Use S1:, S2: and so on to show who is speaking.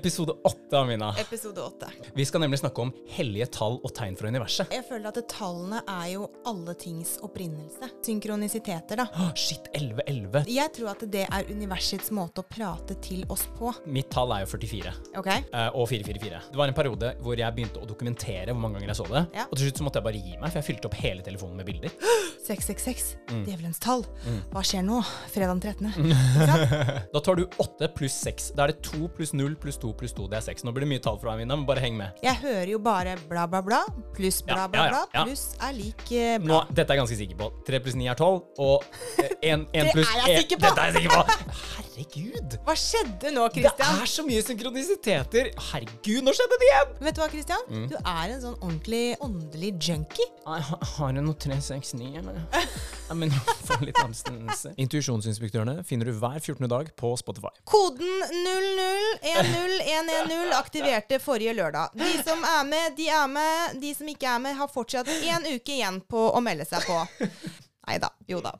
S1: Episode åtte, Amina.
S2: Episode åtte.
S1: Vi skal nemlig snakke om hellige tall og tegn fra universet.
S2: Jeg føler at det- tallene er jo alle tings opprinnelse. Synkronisiteter, da.
S1: Åh, shit, 1111.
S2: Jeg tror at det er universets måte å prate til oss på.
S1: Mitt tall er jo 44.
S2: Ok?
S1: eh, Og 444. Det var en periode hvor jeg begynte å dokumentere hvor mange ganger jeg så det.
S2: Ja.
S1: Og til slutt så måtte jeg bare gi meg, for jeg fylte opp hele telefonen med bilder.
S2: 666.
S1: Mm.
S2: Djevelens tall. Hva skjer nå? Fredag den 13. Ikke sant?
S1: Da tar du 8 pluss 6. Da er det 2 pluss 0 pluss 2 pluss 2. Det er 6. Nå blir det mye tall fra Amina, men bare heng med.
S2: Jeg hører jo bare bla, bla, bla, pluss
S1: Ja,
S2: bla, bla,
S1: ja, ja,
S2: bla,
S1: ja.
S2: pluss er lik eh,
S1: Nå,
S2: bla.
S1: dette er jeg ganske sikker på. 3 pluss 9 er 12, og 1,
S2: Det
S1: pluss
S2: er jeg
S1: en-
S2: sikker på.
S1: Dette er jeg sikker på! Herregud!
S2: Hva skjedde nå,
S1: Det
S2: Christian?
S1: er så mye synkronisiteter! Herregud, nå skjedde det igjen!
S2: Vet du hva, Christian?
S1: Mm.
S2: Du er en sånn ordentlig åndelig junkie.
S1: Jeg har- har jeg noe 369, eller? Nei, men jeg får litt anstendelse. Intuisjonsinspektørene finner du hver 14. dag på Spotify.
S2: Koden 0010110 aktiverte forrige lørdag. De som er med, de er med. De som ikke er med, har fortsatt én uke igjen på å melde seg på. Nei da. Jo da.